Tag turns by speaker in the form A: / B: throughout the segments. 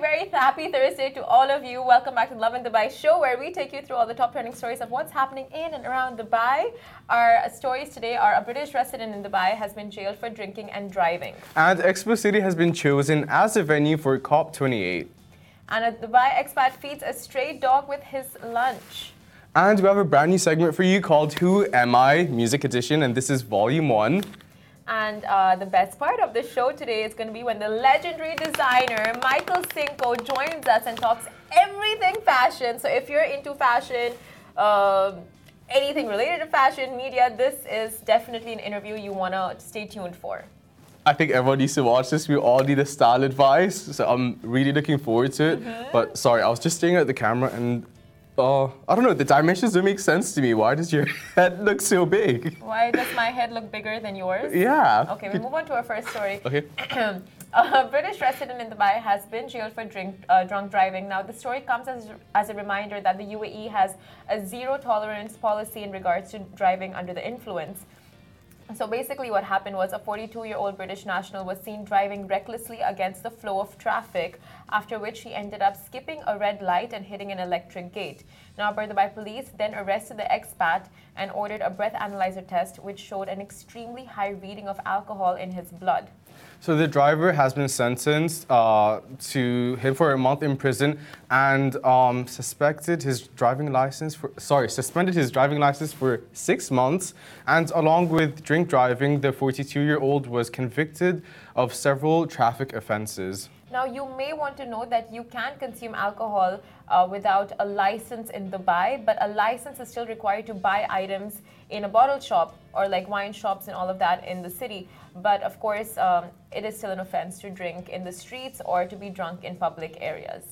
A: very happy Thursday to all of you. Welcome back to the Love in Dubai show, where we take you through all the top trending stories of what's happening in and around Dubai. Our stories today are a British resident in Dubai has been jailed for drinking and driving.
B: And Expo City has been chosen as the venue for COP28.
A: And a Dubai expat feeds a stray dog with his lunch.
B: And we have a brand new segment for you called Who Am I? Music Edition, and this is Volume 1.
A: And uh, the best part of the show today is going to be when the legendary designer Michael Cinco joins us and talks everything fashion. So if you're into fashion, um anything related to fashion, media, this is definitely an interview you want to stay tuned for.
B: I think everyone needs to watch this. We all need a style advice, so I'm really looking forward to it.
A: Mm-hmm.
B: But sorry, I was just staring at the camera and. Uh, I don't know, the dimensions don't make sense to me. Why does your head look so big?
A: Why does my head look bigger than yours?
B: Yeah.
A: Okay, we move on to our first story.
B: Okay.
A: a British resident in Dubai has been jailed for drink, uh, drunk driving. Now, the story comes as, as a reminder that the UAE has a zero tolerance policy in regards to driving under the influence. So basically, what happened was a 42 year old British national was seen driving recklessly against the flow of traffic, after which he ended up skipping a red light and hitting an electric gate. Now, Abu Dhabi police then arrested the expat and ordered a breath analyzer test, which showed an extremely high reading of alcohol in his blood.
B: So the driver has been sentenced uh, to him for a month in prison and um, suspected his driving license for sorry suspended his driving license for six months. And along with drink driving, the 42-year-old was convicted of several traffic offenses.
A: Now, you may want to know that you can consume alcohol uh, without a license in Dubai, but a license is still required to buy items in a bottle shop or like wine shops and all of that in the city. But of course, um, it is still an offense to drink in the streets or to be drunk in public areas.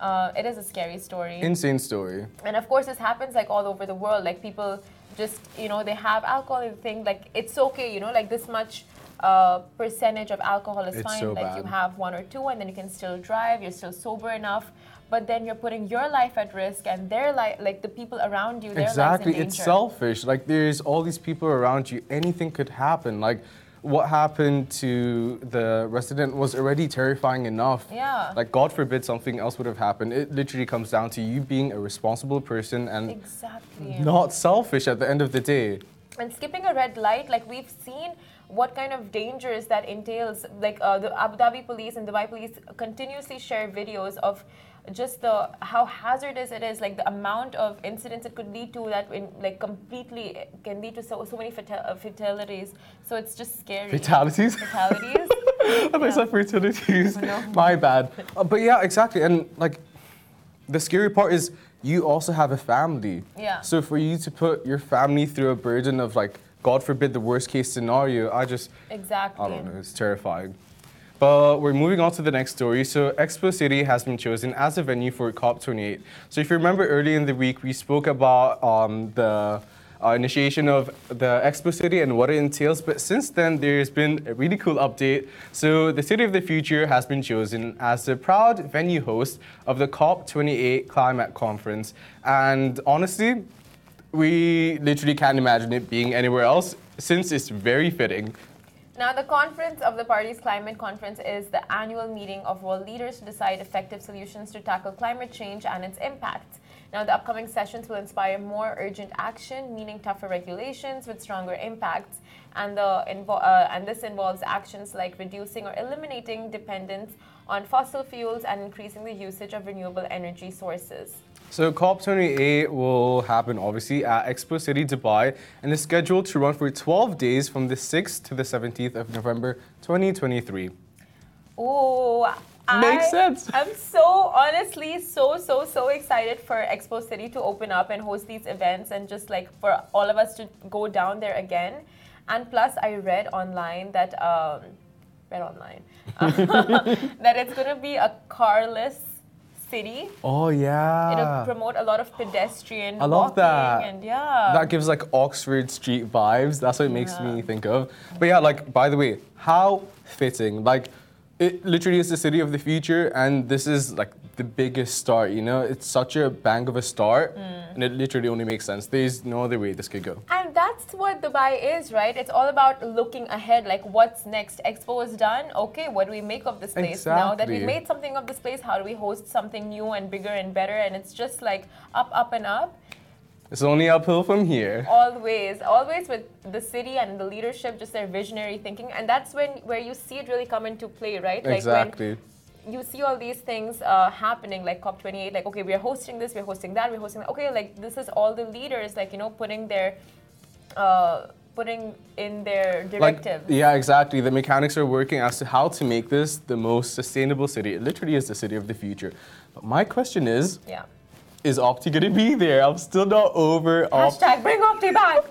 A: Uh, it is a scary story
B: Insane story.
A: and of course this happens like all over the world like people just you know they have alcohol and think like it's okay you know like this much uh, percentage of alcohol is
B: It's
A: fine
B: so
A: like you
B: bad.
A: have one or two and then you can still drive you're still sober enough but then you're putting your life at risk and their life like the people around you their
B: exactly
A: lives in
B: it's
A: danger.
B: selfish like there's all these people around you anything could happen like what happened to the resident was already terrifying enough
A: Yeah.
B: like god forbid something else would have happened it literally comes down to you being a responsible person and
A: exactly
B: not selfish at the end of the day
A: and skipping a red light like we've seen what kind of dangers that entails like uh, the abu dhabi police and dubai police continuously share videos of just the how hazardous it is like the amount of incidents it could lead to that in, like completely can lead to so, so many fatal, uh, fatalities so it's just scary
B: fatalities
A: fatalities
B: I myself fertilities.
A: No.
B: My bad. Uh, but yeah, exactly. And like, the scary part is you also have a family.
A: Yeah.
B: So for you to put your family through a burden of like, God forbid, the worst case scenario, I just,
A: exactly
B: I don't know, it's terrifying. But we're moving on to the next story. So Expo City has been chosen as a venue for COP28. So if you remember earlier in the week, we spoke about um, the uh, initiation of the Expo City and what it entails. But since then, there's been a really cool update. So the City of the Future has been chosen as the proud venue host of the COP28 Climate Conference. And honestly, we literally can't imagine it being anywhere else since it's very fitting.
A: Now, the Conference of the Parties Climate Conference is the annual meeting of world leaders to decide effective solutions to tackle climate change and its impacts. Now, the upcoming sessions will inspire more urgent action, meaning tougher regulations with stronger impacts. And, the invo- uh, and this involves actions like reducing or eliminating dependence on fossil fuels and increasing the usage of renewable energy sources.
B: So COP28 will happen obviously at Expo City Dubai and is scheduled to run for 12 days from the 6th to the 17th of November 2023.
A: Oh,
B: Makes
A: I
B: sense.
A: am so honestly so so so excited for Expo City to open up and host these events and just like for all of us to go down there again. And plus, I read online that um, read online that it's gonna be a carless city.
B: Oh
A: It'll
B: yeah.
A: promote a lot of pedestrian
B: I love
A: walking
B: that.
A: and yeah.
B: That gives like Oxford Street vibes. That's what it makes me think of. But yeah, like by the way, how fitting. Like it literally is the city of the future and this is like the biggest start, you
A: Mm.
B: know? It's such a bang of a start and it literally only makes sense. There's no other way this could go.
A: And that that's what Dubai is, right? It's all about looking ahead, like what's next. Expo is done. Okay, what do we make of this place? Now that we
B: Exactly.
A: made something of this place, how do we host something new and bigger and better? And it's just like up, up, and up.
B: It's only uphill from here.
A: Always, always with the city and the leadership, just their visionary thinking, and that's when where you see it really come into play, right? Like when
B: exactly.
A: you see all these things uh, happening, like COP28, like, okay, we're hosting this, we're hosting that, we're hosting that. Okay, like, this is all the leaders, like, you know, putting their, uh, putting in their directive.
B: yeah, exactly. The mechanics are working as to how to make this the most sustainable city. It literally is the city of the future. But my question is,
A: yeah.
B: is Opti gonna be there? I'm still not over Opti.
A: Hashtag bring Opti back.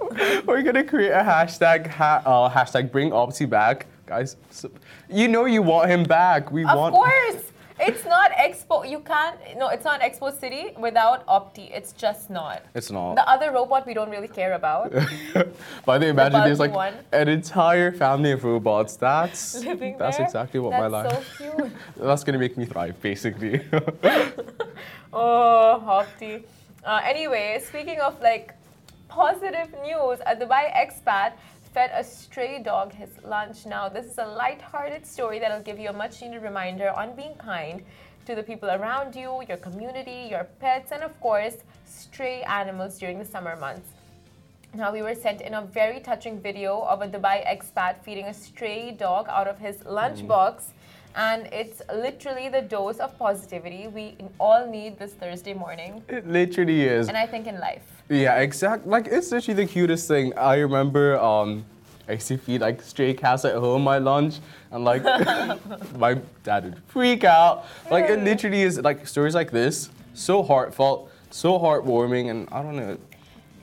B: We're gonna create a hashtag ha- uh, hashtag bring Opti back, guys. So, you know you want him back. We
A: of
B: want.
A: course. It's not Expo. You can't. No, it's not Expo City without Opti. It's just not.
B: It's not.
A: The other robot we don't really care about.
B: By the imagine there's
A: bulky
B: like
A: one.
B: an entire family of robots. That's
A: Living
B: that's
A: there.
B: exactly what my
A: That's
B: life.
A: so cute.
B: That's gonna make me thrive, basically.
A: Oh, Hopti. Uh, anyway, speaking of like positive news, a Dubai expat fed a stray dog his lunch. Now, this is a light-hearted story that'll give you a much-needed reminder on being kind to the people around you, your community, your pets, and of course, stray animals during the summer months. Now, we were sent in a very touching video of a Dubai expat feeding a stray dog out of his lunchbox. And it's literally the dose of positivity we all need this Thursday morning.
B: it literally is.
A: And I think in life.
B: Yeah, exact. Like it's literally the cutest thing. I remember um, I used to feed like stray cats at home my lunch, and like my dad would freak out. Like it literally is like stories like this, so heartfelt, so heartwarming, and I don't know.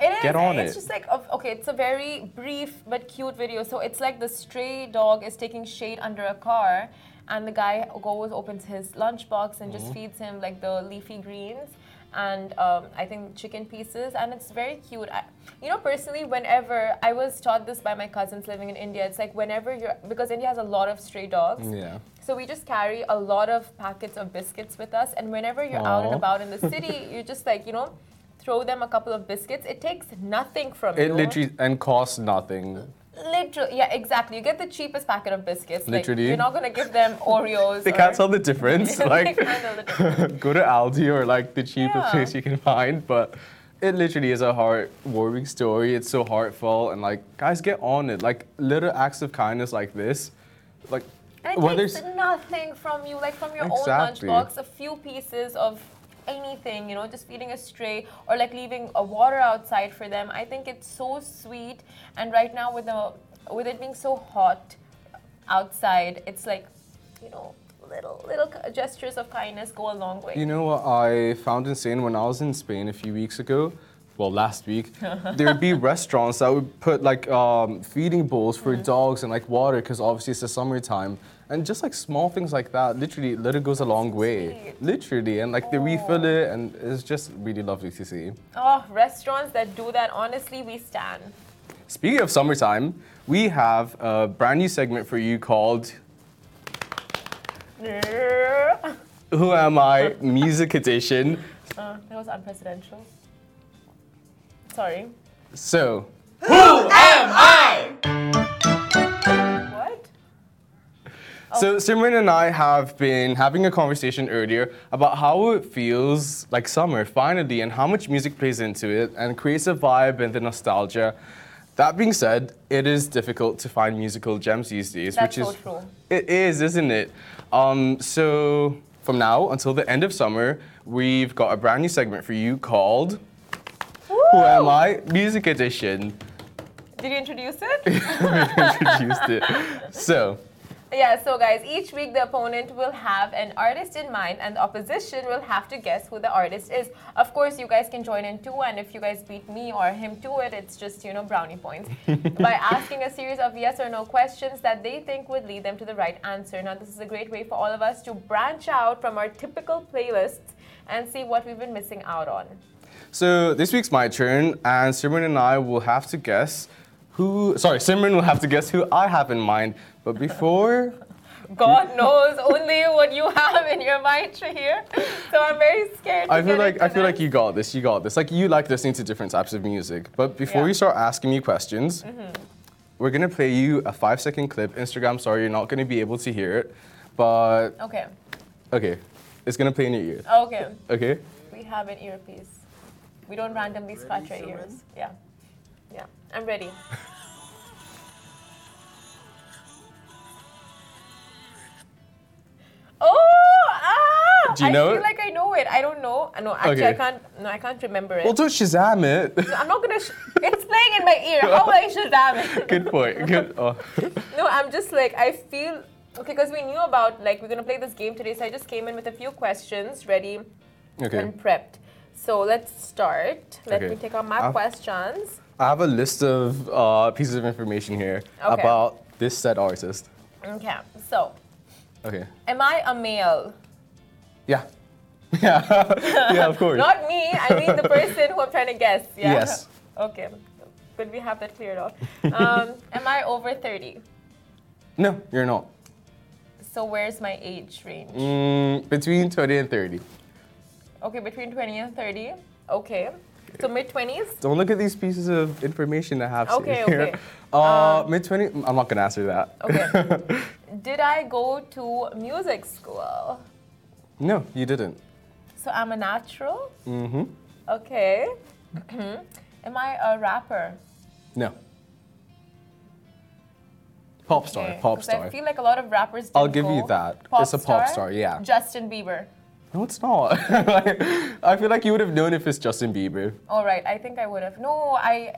A: It is.
B: Get on
A: it's
B: it.
A: just like, of- okay, it's a very brief but cute video. So it's like the stray dog is taking shade under a car, and the guy goes, opens his lunchbox, and
B: Mm-hmm.
A: just feeds him like the leafy greens and um, I think chicken pieces. And it's very cute. I, you know, personally, whenever I was taught this by my cousins living in India, it's like whenever you're, because India has a lot of stray dogs.
B: Yeah.
A: So we just carry a lot of packets of biscuits with us, and whenever you're out and
B: Aw.
A: about in the city, you just like you know, throw them a couple of biscuits. It takes nothing from
B: It
A: you.
B: literally and costs nothing.
A: literally, yeah, exactly. You get the cheapest packet of biscuits. Like,
B: Literally.
A: you're not gonna give them Oreos.
B: They
A: or-
B: can't tell the difference.
A: They
B: Like
A: can't tell the
B: go to Aldi or like the cheapest
A: Yeah.
B: place you can find, but. It literally is a heartwarming story. It's so heartfelt, and like, guys, get on it. Like, little acts of kindness like this, like,
A: And it
B: whether
A: takes nothing from you, like from your
B: Exactly.
A: own lunchbox, a few pieces of anything, you know, just feeding a stray or like leaving a water outside for them. I think it's so sweet. And right now with the with it being so hot outside, it's like, you know, little little gestures of kindness go a long way.
B: You know what I found insane when I was in Spain a few weeks ago? Well, last week, there would be restaurants that would put like um, feeding bowls for dogs and like water because obviously it's the summertime. And just like small things like that, literally, little goes a long way.
A: Sweet.
B: Literally. And like they refill it, and it's just really lovely to see.
A: oh, restaurants that do that, honestly, we stand.
B: Speaking of summertime, we have a brand new segment for you called
A: oh,
B: Who Am I Music Edition.
A: that was unprecedented. Sorry.
B: So,
A: What? Oh.
B: So Simran and I have been having a conversation earlier about how it feels like summer finally and how much music plays into it and creates a vibe and the nostalgia. That being said, it is difficult to find musical gems these days,
A: That's
B: which
A: so
B: is
A: true.
B: it is, isn't it? Um, so from now until the end of summer, we've got a brand new segment for you called Who Am I Music Edition.
A: Did you introduce it?
B: We've introduced it. So
A: yeah, so guys, each week the opponent will have an artist in mind and the opposition will have to guess who the artist is. Of course, you guys can join in too, and if you guys beat me or him to it, it's just, you know, brownie points. By asking a series of yes or no questions that they think would lead them to the right answer. Now, this is a great way for all of us to branch out from our typical playlists and see what we've been missing out on.
B: So this week's my turn, and Simran and I will have to guess who. Sorry, Simran will have to guess who I have in mind. But before
A: God knows only what you have in your mind, Shahir. So I'm very scared. to
B: I feel
A: get
B: like
A: into
B: I feel
A: this.
B: like you got this. You got this. Like you like listening to different types of music. But before
A: Yeah. Mm-hmm.
B: you start asking me questions, we're gonna play you a five-second clip. Instagram. Sorry, you're not gonna be able to hear it, but
A: Okay.
B: okay, it's gonna play in your ear.
A: Okay.
B: Okay.
A: We have an earpiece. We don't randomly scratch our ears. Yeah. Yeah. I'm ready. oh! Ah!
B: Do you
A: I
B: know
A: feel
B: it?
A: like I know it. I don't know. Uh, No, actually, I
B: Okay.
A: can't. No, I can't remember it.
B: Well, don't Shazam it.
A: I'm not gonna. Sh- it's playing in my ear. How will I shazam it?
B: Good point. Good. Oh.
A: No, I'm just like I feel okay because we knew about like we're gonna play this game today, so I just came in with a few questions ready
B: Okay.
A: and prepped. So let's start. Let
B: Okay.
A: me take out my
B: I've-
A: questions.
B: I have a list of uh, pieces of information here
A: Okay.
B: about this said artist.
A: Okay. So,
B: Okay.
A: am I a male?
B: Yeah. Yeah. yeah. Of course.
A: Not me. I mean the person who I'm trying to guess. Yeah.
B: Yes.
A: Okay. Could we have that cleared out? Um, am I over 30?
B: no, you're not.
A: So where's my age range?
B: Mm, between 20 and 30.
A: Okay, between 20 and 30. Okay. So mid 20s.
B: Don't look at these pieces of information I have
A: Okay,
B: sitting here.
A: okay. Um,
B: Uh, mid 20, I'm not gonna answer that.
A: Okay. Did I go to music school?
B: no, you didn't.
A: So I'm a natural?
B: Mm-hmm.
A: Okay. Am I a rapper?
B: No. Pop star,
A: Okay,
B: pop
A: 'cause
B: star.
A: I feel like a lot of rappers
B: I'll
A: didn't
B: give you
A: go.
B: that. It's a pop star, yeah.
A: Justin Bieber.
B: no, it's not. Like, I feel like you would have known if it's Justin Bieber.
A: All right, I think I would have. No, I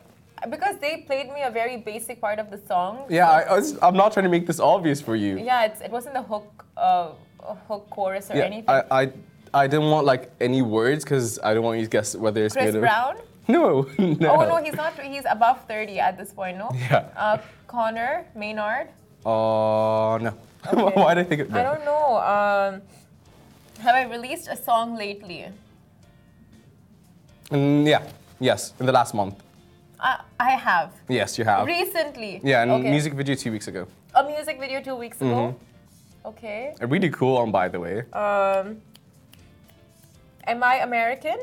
A: because they played me a very basic part of the song.
B: Yeah, I, I was, I'm not trying to make this obvious for you.
A: Yeah, it's, it wasn't the hook uh, hook chorus or anything.
B: I, I, I didn't want like any words because I don't want you to guess whether it's
A: Chris
B: made of-
A: Brown?
B: No, no.
A: Oh no, he's not he's above 30 at this point, no?
B: Yeah.
A: Uh, Connor Maynard?
B: Uh, no.
A: Okay.
B: Why did I think of
A: I don't know. Um, have I released a song lately?
B: Mm, yeah. Yes. In the last month.
A: I, I have.
B: Yes, you have.
A: Recently.
B: yeah, and
A: okay.
B: music video two weeks ago.
A: A music video two weeks ago.
B: Mm-hmm.
A: Okay.
B: A really cool one, by the way.
A: Um, am I American?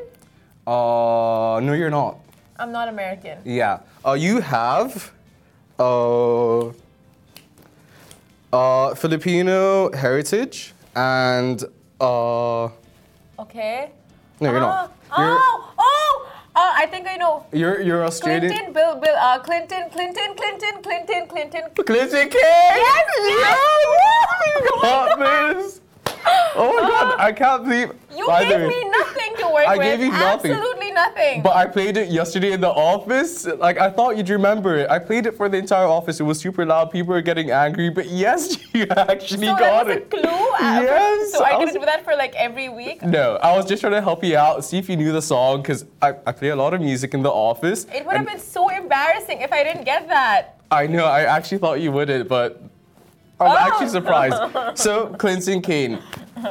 B: Uh, no, you're not.
A: I'm not American.
B: Yeah. Uh, you have. Uh, uh, Filipino heritage and uh, no,
A: Okay.
B: you're not.
A: Ah, Oh, oh, uh, I think I know.
B: You're you're you're Australian.
A: Clinton, Bill, Bill, uh, Clinton, Clinton, Clinton, Clinton, Clinton.
B: Clinton King.
A: Yes, yes.
B: You got this. Oh my god! I can't believe.
A: You
B: By the
A: gave
B: way-
A: me nothing to work
B: I
A: with.
B: gave you nothing.
A: Absolutely nothing.
B: But I played it yesterday in the office. Like I thought you'd remember it. I played it for the entire office. It was super loud. People were getting angry. But yes, you actually
A: so that
B: got
A: was
B: it.
A: a clue. Uh,
B: Yes,
A: So I,
B: I
A: can
B: was-
A: do that for like every week.
B: No, I was just trying to help you out, see if you knew the song, because I, I play a lot of music in the office.
A: It would have
B: and
A: been so embarrassing if I didn't get that.
B: I know, I actually thought you wouldn't, but I'm
A: Oh.
B: actually surprised. so, Clinton Kane,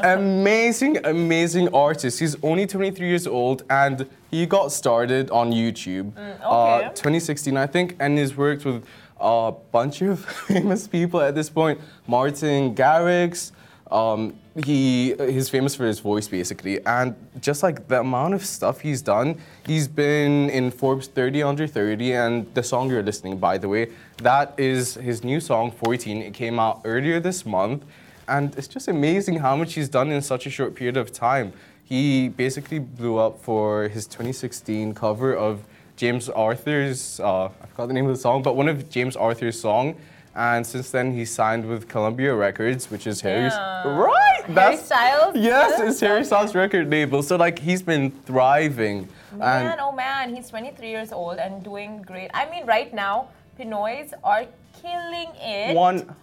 B: amazing, amazing artist. He's only 23 years old, and he got started on YouTube
A: okay.
B: uh, 2016, I think, and he's worked with a bunch of famous people at this point. Martin Garrix. Um, he he's famous for his voice basically, and just like the amount of stuff he's done, he's been in Forbes 30 under 30, and the song you're listening, by the way, that is his new song 14. It came out earlier this month, and it's just amazing how much he's done in such a short period of time. He basically blew up for his 2016 cover of James Arthur's, uh, I forgot the name of the song, but one of James Arthur's song. And since then, he signed with Columbia Records, which is Harry's.
A: Yeah.
B: Right!
A: Harry Styles?
B: Yes, it's Harry
A: Okay.
B: Styles' record label. So, like, he's been thriving.
A: Man,
B: And
A: oh man, he's 23 years old and doing great. I mean, right now, Pinoys are killing it.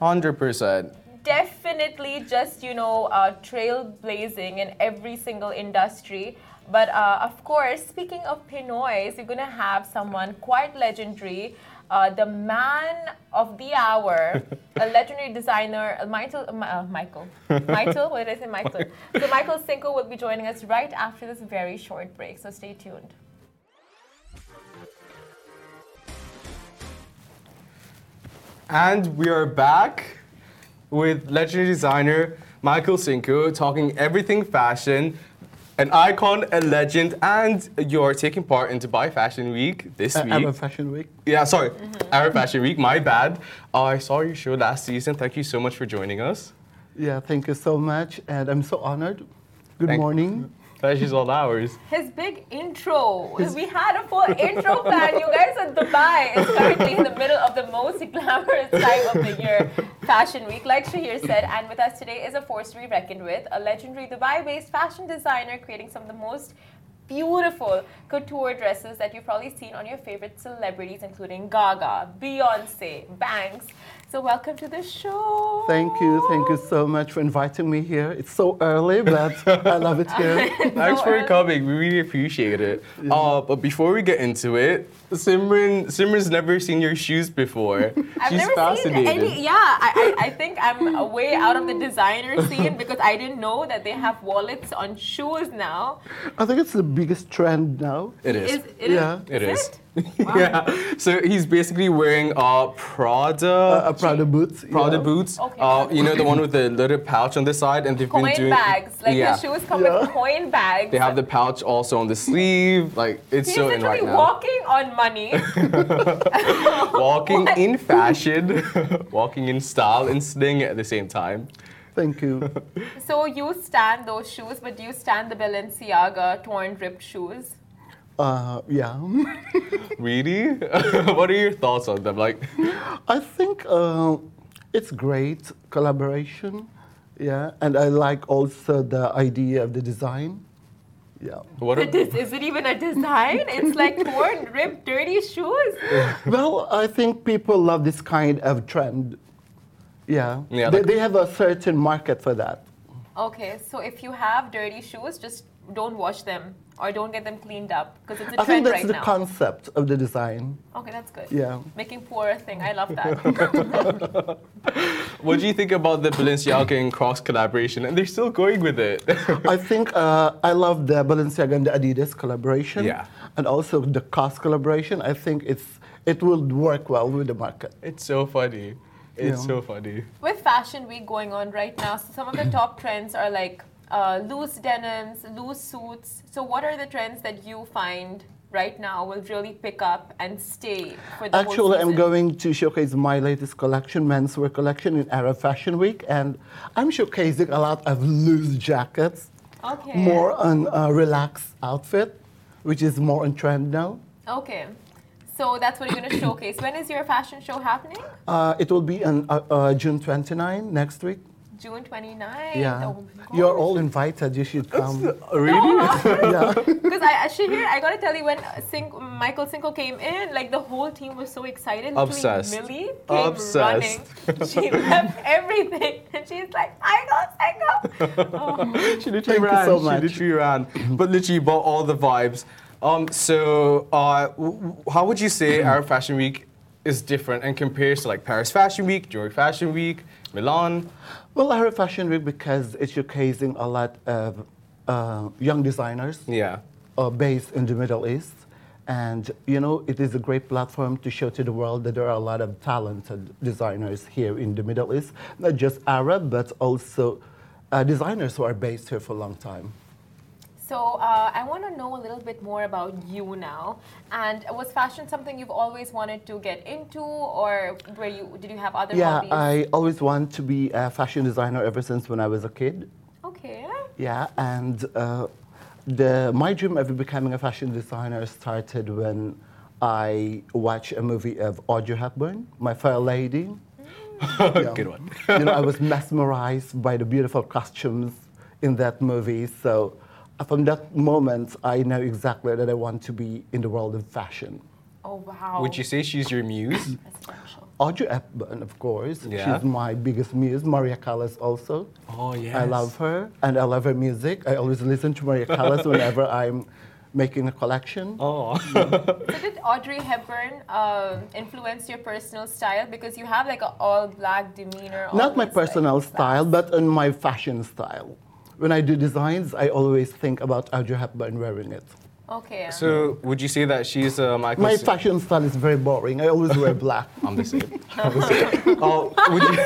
B: 100%.
A: Definitely just, you know, uh, trailblazing in every single industry. But uh, of course, speaking of Pinoys, you're going to have someone quite legendary. Uh, the man of the hour, a legendary designer, uh, Michael, uh, Mi- uh, Michael, Michael, what did I say, Michael? So Michael Cinco will be joining us right after this very short break. So stay tuned.
B: And we are back. with legendary designer Michael Cinco talking everything fashion, an icon, a legend, and you're taking part in Dubai Fashion Week this
C: Uh,
B: week.
C: Arab Fashion Week.
B: yeah, sorry, Arab Fashion Week. My bad. Uh, I saw your show last season. Thank you so much for joining us.
C: Yeah, thank you so much, and I'm so honored. Good
B: Thank-
C: morning.
B: Pleasure's all ours.
A: His big intro. we had a full intro plan. You guys in Dubai is currently in the middle of the most glamorous time of the year, Fashion Week, like Shahir said. And with us today is a force to be reckoned with, a legendary Dubai-based fashion designer creating some of the most beautiful couture dresses that you've probably seen on your favorite celebrities, including Gaga, Beyonce, Banks. So welcome to the show.
C: Thank you, thank you so much for inviting me here. It's so early, but I love it here.
B: Thanks
A: So
B: for
A: early.
B: coming. We really appreciate it. Uh, but before we get into it, Simran, Simran's never seen your shoes before.
A: I've
B: She's
A: never
B: fascinated.
A: seen any. Yeah, I, I, I think I'm way out of the designer scene because I didn't know that they have wallets on shoes now.
C: I think it's the biggest trend now.
B: It is.
A: Is- it is-
C: Yeah.
B: It is.
A: it?
B: yeah. So he's basically wearing uh, Prada.
C: Uh, Prada boots.
B: Prada
C: yeah.
B: boots,
A: Okay.
B: uh, you know the one with the little pouch on the side, and they've
A: Coin
B: been doing
A: bags. Like
B: yeah,
A: the shoes come with
C: Yeah.
A: coin bags.
B: they have the pouch also on the sleeve. Like it's
A: He's
B: so in
A: literally
B: right now.
A: walking on money.
B: Walking in fashion, walking in style and sling at the same time.
C: Thank you.
A: so you stand those shoes, but do you stand the Balenciaga torn, ripped shoes?
C: Uh, yeah.
B: Really? what are your thoughts on them? Like,
C: I think uh, it's great collaboration, yeah, and I like also the idea of the design, yeah.
B: what?
A: It
B: Are,
A: is, is it even a design? It's like torn, ripped, dirty shoes.
C: well, I think people love this kind of trend, yeah.
B: Yeah,
C: they,
B: like-
C: they have a certain market for that.
A: Okay, so if you have dirty shoes, just don't wash them or don't get them cleaned up because it's a
C: I think
A: trend
C: that's
A: right
C: the
A: now.
C: concept of the design.
A: okay, that's good.
C: Yeah.
A: Making poor a thing. I love that.
B: what do you think about the Balenciaga and Crocs collaboration? And they're still going with it.
C: I think uh, I love the Balenciaga and the Adidas collaboration,
B: Yeah.
C: and also the COS collaboration. I think it's it will work well with the market.
B: it's so funny. It's
C: Yeah.
B: so funny.
A: With Fashion Week going on right now, so some of the top trends are like uh, loose denims, loose suits. So, what are the trends that you find right now will really pick up and stay for the whole
C: Actually, I'm
A: season?
C: going to showcase my latest collection, menswear collection, in Arab Fashion Week, and I'm showcasing a lot of loose jackets,
A: Okay.
C: more on a relaxed outfit, which is more on trend now.
A: Okay. So that's what you're going to showcase. When is your fashion show happening?
C: Uh, it will be on uh, uh, June 29 next week.
A: June 29th.
C: Yeah,
A: Oh my God.
C: you're all invited. You should come.
B: Really?
C: yeah.
A: Because I actually here, I gotta tell you, when Sink, Michael Cinco came in, like the whole team was so excited. Literally,
B: Obsessed.
A: Millie came
B: Obsessed.
A: running. She left everything, and she's like, "I got Cinco." Oh.
B: she literally
C: Thank you
B: ran.
C: so
B: She
C: much.
B: literally ran. But literally bought all the vibes. Um, so, uh, w- w- how would you say Arab Fashion Week is different and compares to like Paris Fashion Week, New York Fashion Week, Milan?
C: Well, Arab Fashion Week because it's showcasing a lot of uh, young designers.
B: Yeah.
C: uh, based in the Middle East. And, you know, it is a great platform to show to the world that there are a lot of talented designers here in the Middle East, not just Arab, but also uh, designers who are based here for a long time.
A: So uh, I want to know a little bit more about you now. And was fashion something you've always wanted to get into, or were you? Did you have other
C: Yeah,
A: hobbies?
C: I always want to be a fashion designer ever since when I was a kid.
A: okay.
C: Yeah, and uh, the, my dream of becoming a fashion designer started when I watched a movie of Audrey Hepburn, My Fair Lady.
B: Good one.
C: you know, I was mesmerized by the beautiful costumes in that movie. So uh, from that moment, I know exactly that I want to be in the world of fashion.
A: Oh wow.
B: Would you say she's your muse?
A: That's special.
C: Audrey Hepburn, of course,
B: Yeah.
C: she's my biggest muse. Maria Callas also.
B: Oh,
C: I
B: yes.
C: love her, and I love her music. I always listen to Maria Callas whenever I'm making a collection.
B: Oh.
A: So did Audrey Hepburn uh, influence your personal style because you have like an all black demeanor?
C: Not my
A: always, like,
C: personal style, but in my fashion style. When I do designs, I always think about Audrey Hepburn wearing it.
A: Okay.
B: so, would you say that she's uh, Michael?
C: My
B: Cin-
C: fashion style is very boring. I always wear black.
B: I'm the same. I'm the same. Oh, would you?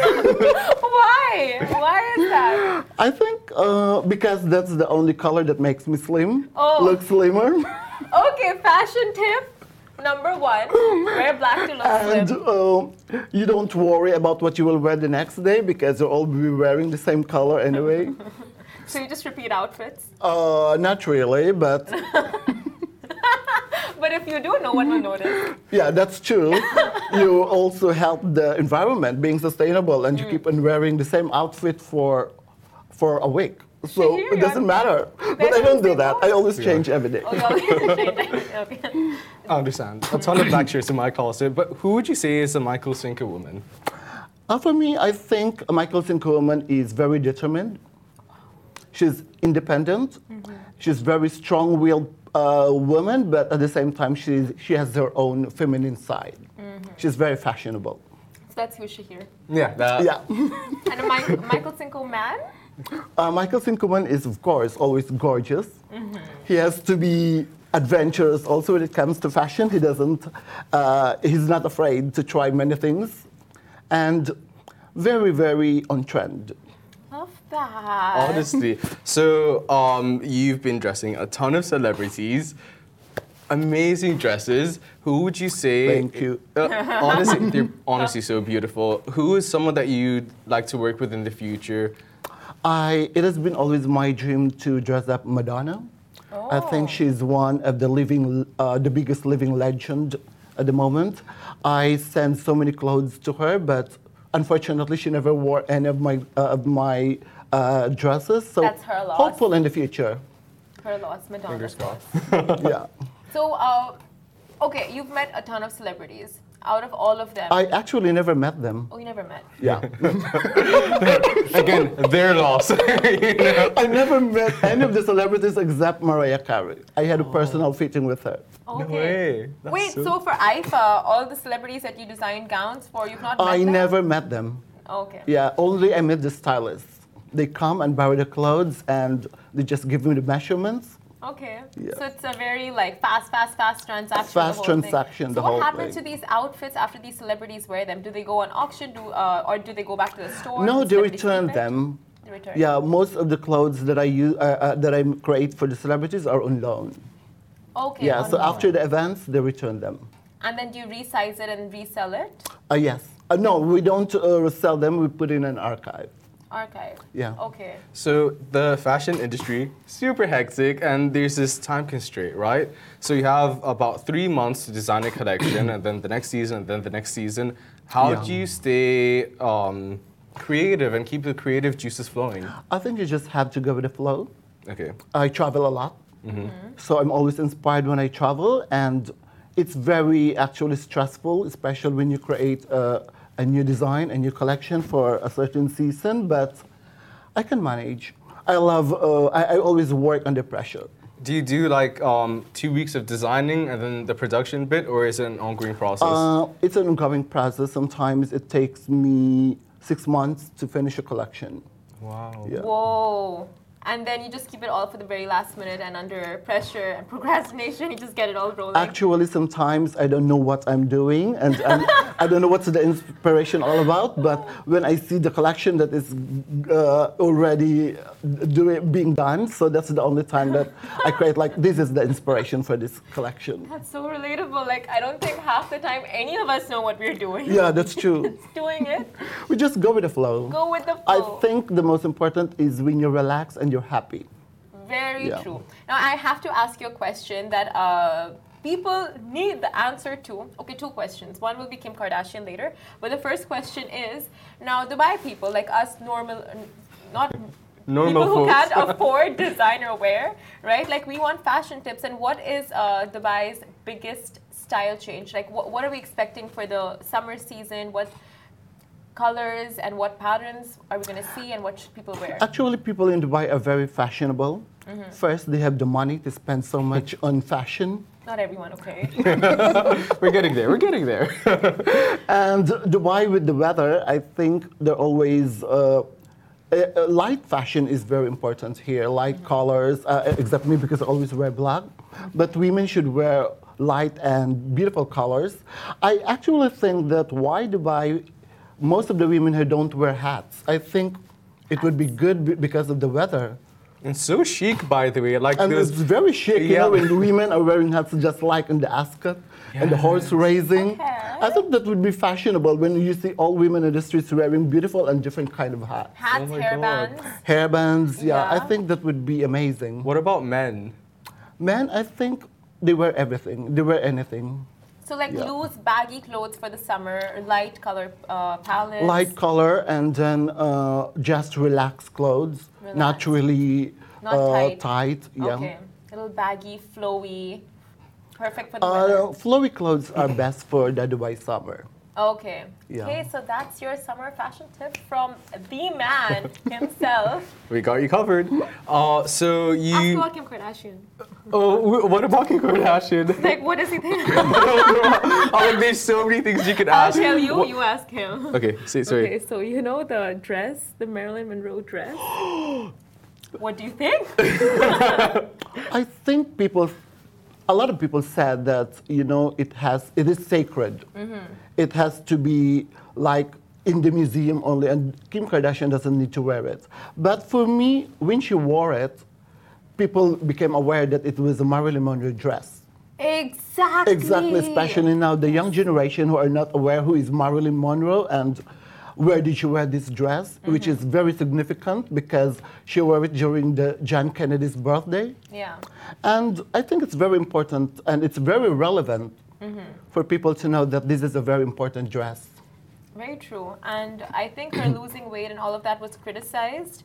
A: Why? Why? Why is that?
C: I think uh, because that's the only color that makes me slim.
A: Oh.
C: Look slimmer.
A: Okay, fashion tip number one: wear black to look slim.
C: And uh, you don't worry about what you will wear the next day because you'll all be wearing the same color anyway.
A: So you just repeat outfits.
C: uh, not really, but
A: But if you do, no one will notice.
C: yeah, that's true. you also help the environment being sustainable, and you
A: Mm.
C: keep on wearing the same outfit for for a week. So
A: you?
C: it doesn't matter. But
A: That's
C: I don't do that.
A: sustainable?
C: I always change every day.
A: Oh, y'all okay.
B: I understand. A ton of black shirts in my closet, but who would you say is a Michael Sinker woman?
C: Uh, for me, I think Michael Sinkerman is very determined. She's independent. She's very strong-willed uh, woman, but at the same time, she's, she has her own feminine side. She's very fashionable.
A: So that's Yoshihiro.
B: Yeah.
C: yeah.
A: And a Mi- Michael Cinco man?
C: Uh, Michael Sinkerman is, of course, always gorgeous. He has to be adventurous also when it comes to fashion. He doesn't, uh, he's not afraid to try many things. And very, very on trend.
A: Love that.
B: Honestly. So um, you've been dressing a ton of celebrities, amazing dresses. Who would you say?
C: Thank you.
B: Uh, honestly, they're honestly so beautiful. Who is someone that you'd like to work with in the future?
C: I, it has been always my dream to dress up Madonna. I
A: Oh.
C: think she's one of the living, uh, the biggest living legend at the moment. I sent so many clothes to her, but unfortunately, she never wore any of my uh, of my uh, dresses. So
A: That's her loss.
C: hopeful in the future.
A: Her loss, Madonna.
B: Fingers crossed.
C: yeah,
A: So, uh, okay, you've met a ton of celebrities. Out of all of them,
C: I actually never met them.
A: oh, you never met.
C: Yeah,
B: Again, their loss. you know?
C: I never met any of the celebrities except Mariah Carey. I had a
A: Oh.
C: personal fitting with her.
A: Okay.
B: way. That's
A: Wait, so,
B: so-
A: for IFA, all the celebrities that you designed gowns for, you've not met
C: I
A: them?
C: never met them.
A: Okay.
C: Yeah, only I met the stylists. They come and borrow the clothes and they just give me the measurements.
A: Okay.
C: Yeah.
A: So it's a very like fast, fast, fast transaction. the
C: Fast
A: whole
C: transaction,
A: Thing.
C: the
A: so what
C: whole
A: happens
C: thing.
A: to these outfits after these celebrities wear them? Do they go on auction? Do uh, or do they go back to the store? Do
C: no, they
A: celebrities
C: return
A: keep it?
C: them.
A: They return.
C: Yeah, most of the clothes that I use, uh, uh, that I create for the celebrities are on loan.
A: Okay.
C: yeah, so
A: on
C: after the events, they return them.
A: loan. And then do you resize it and resell it?
C: Uh, yes. Uh, no, we don't uh, sell them. We put in an archive.
A: Archive.
C: Yeah.
A: Okay.
B: So the fashion industry super hectic, and there's this time constraint, right? So you have about three months to design a collection, and then the next season, and then the next season. How
C: Yeah.
B: do you stay um, creative and keep the creative juices flowing?
C: I think you just have to go with the flow.
B: Okay.
C: I travel a lot, so I'm always inspired when I travel, and it's very actually stressful, especially when you create a, a new design, a new collection for a certain season. But I can manage. I love. Uh, I, I always work under pressure.
B: Do you do like um, two weeks of designing and then the production bit, or is it an ongoing process?
C: Uh, it's an ongoing process. Sometimes it takes me six months to finish a collection.
B: wow.
C: Yeah.
A: Whoa. And then you just keep it all for the very last minute, and under pressure and procrastination, you just get it all rolling.
C: Actually, sometimes I don't know what I'm doing, and I'm, I don't know what's the inspiration all about. But when I see the collection that is uh, already doing, being done, so that's the only time that I create like this is the inspiration for this collection.
A: That's so relatable. Like I don't think half the time any of us know what we're doing.
C: Yeah, that's true.
A: Doing it.
C: We just go with the flow.
A: Go with the
C: I
A: flow.
C: think the most important is when you relax and you're happy.
A: Very
C: Yeah.
A: true. Now I have to ask you a question that uh, people need the answer to. Okay, two questions. One will be Kim Kardashian later, but the first question is now Dubai people like us normal, not
B: Normal
A: people who
B: folks.
A: can't afford designer wear, right? Like we want fashion tips. And what is uh, Dubai's biggest style change? Like what what are we expecting for the summer season? What colors and what patterns are we going to see and what should people wear?
B: Uh,
C: Actually, people in Dubai are very fashionable.
A: Mm-hmm.
C: First, they have the money to spend so much on fashion.
A: Not everyone, okay?
B: We're getting there. We're getting there.
C: And Dubai with the weather, I think they're always. Uh, uh, uh, light fashion is very important here. Light
B: Mm-hmm.
C: colors, uh, except me because I always wear black. But women should wear light and beautiful colors. I actually think that why Dubai most of the women here don't wear hats. I think it would be good be- because of the weather.
B: And so chic, by the way. Like
C: And
B: this.
C: it's very chic, you
B: Yeah.
C: know, when women are wearing hats just like in the ascot and the horse raising. I thought that would be fashionable when you see all women in the streets wearing beautiful and different kind of hats.
A: Hats,
B: my God.
A: hairbands.
C: Hairbands, yeah, I
A: Yeah.
C: think that would be amazing.
B: What about men?
C: Men, I think they wear everything, they wear anything.
A: So like
C: Yeah.
A: loose, baggy clothes for the summer, light color uh, palettes.
C: Light color and then uh, just relaxed clothes,
A: Relaxed.
C: not really
A: Not
C: uh,
A: tight.
C: yeah.
A: Okay. A little baggy, flowy, perfect for the
C: Uh,
A: weather.
C: flowy clothes are best for the Dubai summer.
A: Okay.
C: yeah.
A: Okay, so that's your summer fashion tip from the man himself.
B: We got you covered.
C: Mm.
B: Uh, so
A: Ask
B: you.
A: about Kim Kardashian.
B: Oh, wh- what about Kim Kardashian?
A: Like, what does he think?
B: oh, there's so many things you could
A: I'll
B: ask.
A: tell you.
B: Wha-
A: You ask him.
B: Okay, say, sorry.
A: Okay, so you know the dress, the Marilyn Monroe dress. what do you think?
C: I think people, a lot of people said that you know it has it is sacred. It has to be like in the museum only, and Kim Kardashian doesn't need to wear it. But for me, when she wore it, people became aware that it was a Marilyn Monroe dress.
A: Exactly.
C: Exactly, especially now the young generation who are not aware who is Marilyn Monroe and where did she wear this dress, which is very significant because she wore it during the John Kennedy's birthday.
A: Yeah.
C: And I think it's very important and it's very relevant for people to know that this is a very important dress.
A: Very true. And I think her losing weight and all of that was criticized.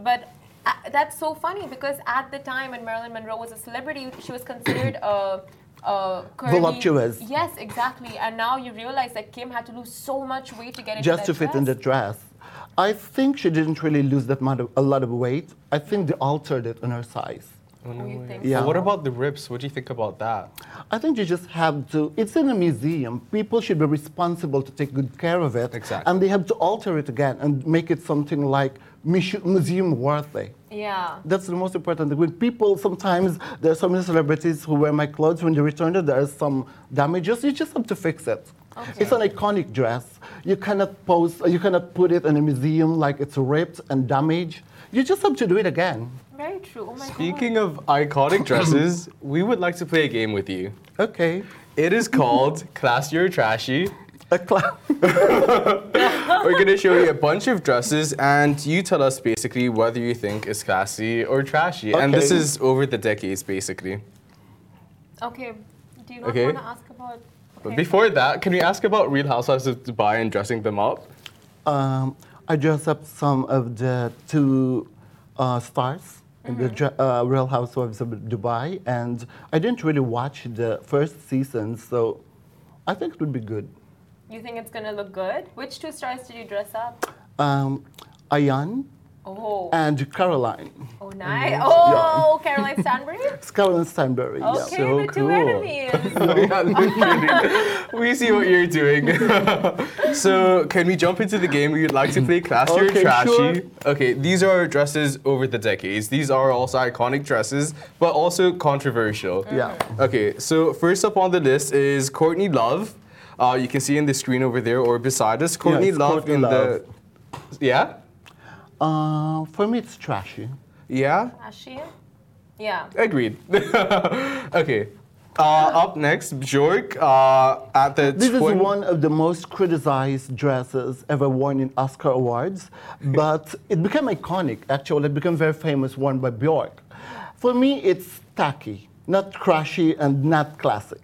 A: But uh, that's so funny because at the time when Marilyn Monroe was a celebrity, she was considered a. a curvy-
C: Voluptuous.
A: Yes, exactly. And now you realize that Kim had to lose so much weight to get into
C: just
A: that
C: to fit
A: dress.
C: in the dress. I think she didn't really lose that much of, a lot of weight. I think they altered it on her size.
A: Oh, you think
C: Yeah.
B: But What about the ribs? What do you think about that?
C: I think you just have to, it's in a museum. People should be responsible to take good care of it.
B: Exactly.
C: And they have to alter it again and make it something like mus- museum worthy.
A: Yeah.
C: That's the most important thing. When people sometimes, there are so many celebrities who wear my clothes. When they return it, there are some damages. You just have to fix it. It's an iconic dress. You cannot post, you cannot put it in a museum like it's ripped and damaged. You just have to do it again.
A: Very true. Oh my God.
B: Speaking of iconic dresses, we would like to play a game with you.
C: Okay.
B: It is called Classy or Trashy.
C: A clown.
B: We're going to show you a bunch of dresses, and you tell us basically whether you think it's classy or trashy. And this
C: Okay.
B: is over the decades, basically.
A: Okay. Do you not
B: Okay.
A: want to ask about?
B: But
A: Okay.
B: before that, can we ask about Real Housewives of Dubai and dressing them up?
C: um, I dressed up some of the two uh, stars in the dr- uh, Real Housewives of Dubai, and I didn't really watch the first season, so I think it would be good.
A: You think it's gonna look good? Which two stars did you dress up?
C: um, Ayan
A: Oh.
C: and Caroline.
A: oh, nice. Oh, Caroline Stanbury.
C: It's Caroline Stanbury.
A: Okay,
C: Yeah.
B: So
A: the two
B: cool.
A: enemies.
B: Yeah, literally. we see what you're doing. so, can we jump into the game? We'd like to play classy or
C: Okay,
B: trashy.
C: sure.
B: Okay, these are dresses over the decades. These are also iconic dresses, but also controversial.
C: Yeah.
B: Okay, so first up on the list is Courtney Love. Uh, you can see in the screen over there or beside us, Courtney
C: it's
B: Love
C: Courtney
B: in
C: Love.
B: the. Yeah?
C: Uh, for me, it's trashy.
B: Yeah?
A: Ashi? Yeah.
B: Agreed. okay. Uh, up next, Bjork uh, at the
C: This is
B: twen-
C: one of the most criticized dresses ever worn in Oscar awards, but it became iconic. Actually, it became very famous, worn by Bjork. For me, it's tacky, not trashy, and not classic.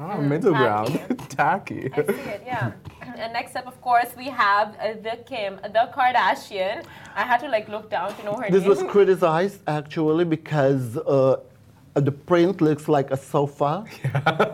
B: Ah, middle
A: tacky.
B: ground. tacky.
A: I see it, yeah. And next up, of course, we have uh, the Kim, the Kardashian. I had to like look down to know her
C: This
A: name.
C: was criticized actually because uh, the print looks like a sofa.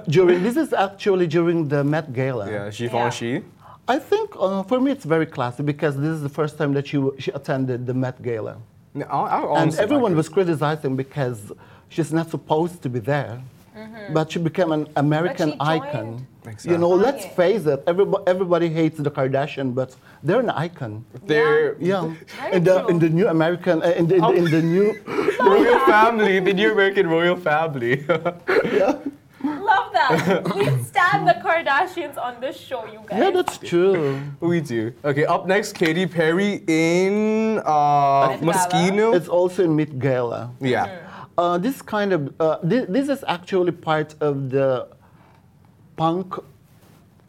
C: During this is actually during the Met Gala.
B: Yeah, Givenchy.
C: I think uh, for me it's very classy because this is the first time that she, w- she attended the Met Gala.
B: No, I, I
C: And
B: honestly
C: everyone
B: like
C: was criticizing because she's not supposed to be there.
A: Mm-hmm.
C: But she became an American
A: But she
C: icon.
B: joined.
C: You know, let's
A: Right.
C: face it, everybody, everybody hates the Kardashian, but they're an icon.
B: it. They're
C: Yeah.
A: Very
C: In the, in
A: true.
C: the new American, uh, in, the, in, the, in the new,
B: royal family, the new American royal family.
A: Love that. We stand the Kardashians on this show, you guys.
C: Yeah, that's true.
B: We do. Okay, up next, Katy Perry in uh,
A: Met
B: Moschino.
C: It's also in Meet Gala.
B: yeah.
C: Uh, this kind of uh, thi- this is actually part of the punk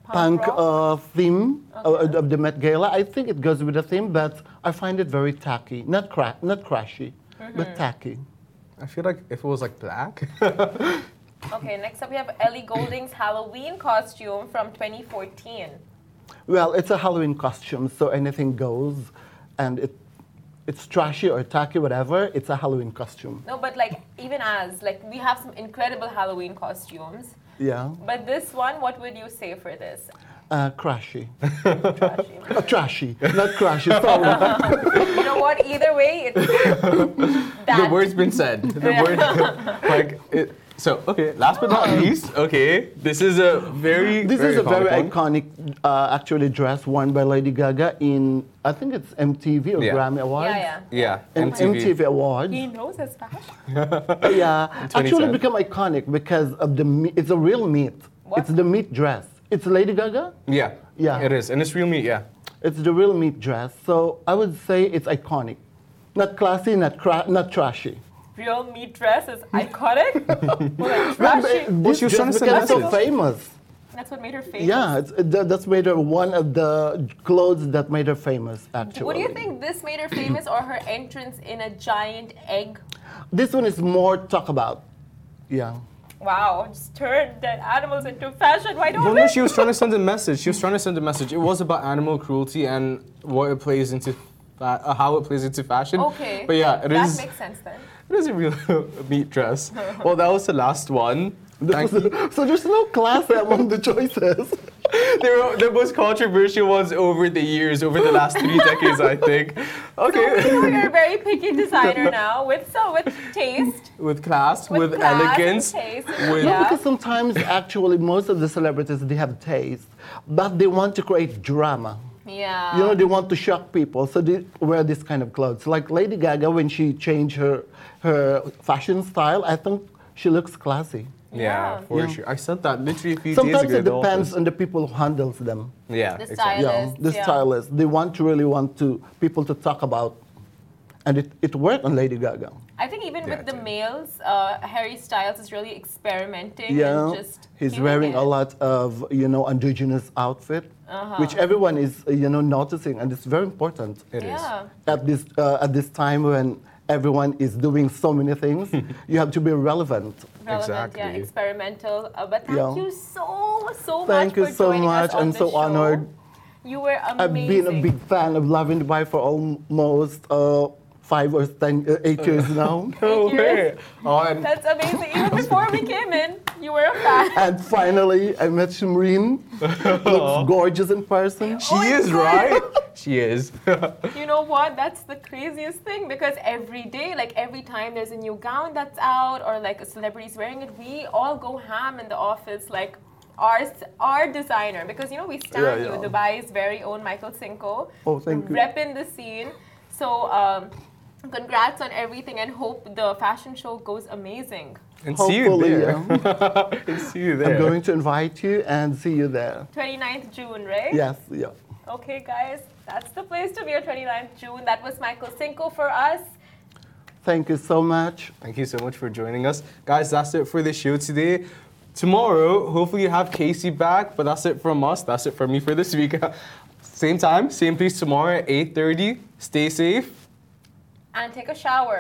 A: Punk
C: punk,
A: rock?
C: uh, theme of, of the Met Gala. I think it goes with the theme, but I find it very tacky. Not cra- not crashy, but tacky.
B: I feel like if it was like black.
C: uh,
A: Okay, next up we have Ellie Golding's Halloween costume from 2014.
C: Well, it's a Halloween costume, so anything goes, and it it's trashy or tacky, whatever. It's a Halloween costume.
A: No, but like even as like we have some incredible Halloween costumes,
C: Yeah,
A: but this one, what would you say for this?
C: uh, crashy,
A: Trashy.
C: Uh, trashy, not crashy. Sorry.
A: you know what? Either way, it's that.
B: the word's been said. The word, like, it, so okay. Last but not least, okay, this is a very
C: This is a very
B: iconic one.
C: iconic, uh, actually, dress worn by Lady Gaga in, I think it's MTV or
B: Yeah.
C: Grammy Awards.
A: yeah, yeah.
B: Yeah,
C: M-
B: MTV.
C: MTV Awards.
A: He knows his fashion.
C: yeah.
B: 2010.
C: Actually become iconic because of the, me- it's a real meat.
A: What?
C: It's the meat dress. It's Lady Gaga.
B: Yeah,
C: Yeah.
B: it is, and it's real meat. Yeah,
C: It's the real meat dress. So I would say it's iconic. Not classy, not, cra- not trashy.
A: Real meat dress is iconic. Or like trashy.
C: This
B: your son's
C: dress became so
B: synopsis?
C: famous.
A: That's what made her famous.
C: Yeah, it's, it, that's made her one of the clothes that made her famous, actually.
A: What do you think this made her famous or her entrance in a giant egg?
C: This one is more talk about. Yeah.
A: Wow, just turned dead animals into fashion. Why
B: No,
A: don't
B: no,
A: we?
B: she was trying to send a message. She was trying to send a message. It was about animal cruelty and what it plays into, fa- uh, how it plays into fashion.
A: Okay.
B: But yeah, it is.
A: That makes sense then.
B: it is a real meat dress. Well, that was the last one. Thank you.
C: so there's no class among the choices.
B: They were the most controversial ones over the years, over the last three decades, I think.
A: We
B: Okay.
A: know you're a very picky designer now, with so with taste,
B: with class, with,
A: with, class,
B: elegance,
A: taste,
B: with-
C: No,
A: yeah.
C: because sometimes actually most of the celebrities they have taste, but they want to create drama.
A: yeah.
C: You know, they want to shock people, so they wear this kind of clothes. Like Lady Gaga, when she changed her her fashion style, I think she looks classy.
B: yeah,
A: Yeah.
B: for sure. I said that literally a few
C: Sometimes
B: days
C: it
B: ago.
C: depends on the people who handles them.
B: Yeah,
A: The
B: exactly.
A: style.
C: Yeah,
A: Stylist,
C: the
A: yeah.
C: stylist. They want to really want to people to talk about, and it, it worked on Lady Gaga.
A: I think even
B: Yeah,
A: with the
B: totally.
A: males, uh, Harry Styles is really experimenting
C: Yeah,
A: and just
C: he's
A: doing
C: wearing
A: it.
C: a lot of you know androgynous outfit,
A: Uh-huh.
C: which everyone is uh, you know noticing, and it's very important
B: It is.
A: Yeah.
C: at this uh, at this time when everyone is doing so many things. you have to be relevant.
A: Relevant, yeah,
B: Exactly.
A: experimental. Uh, but thank
C: Yeah.
A: you so so much
C: Thank you
A: for
C: so
A: joining
C: much.
A: us on
C: I'm
A: the
C: so
A: show.
C: honored.
A: You were
C: I've
A: amazing.
C: been a big fan of Love in Dubai for almost uh, five or ten, uh, eight years now.
B: Oh,
A: Thank you.
B: hey. Oh, and
A: That's amazing. Even before we came in, you were a fan.
C: And finally, I met Shimreen. Looks gorgeous in person.
B: she is right. she is.
A: You know what? That's the craziest thing because every day, like every time there's a new gown that's out or like a celebrity's wearing it, we all go ham in the office, like our our designer because you know we stand
C: Yeah,
A: you,
C: yeah.
A: Dubai's very own Michael Cinco.
C: Oh, thank you.
A: Repping the scene. So. Um, Congrats on everything and hope the fashion show goes amazing.
B: And see you
C: Hopefully,
B: there.
C: yeah.
B: and see you there.
C: I'm going to invite you and see you there.
A: 29th June, right?
C: Yes, yeah.
A: Okay, guys, that's the place to be on 29th June. That was Michael Cinco for us.
C: Thank you so much.
B: Thank you so much for joining us. Guys, that's it for the show today. Tomorrow, hopefully you have Casey back, but that's it from us. That's it from me for this week. same time, same place tomorrow at 8.30. Stay safe.
A: And take a shower.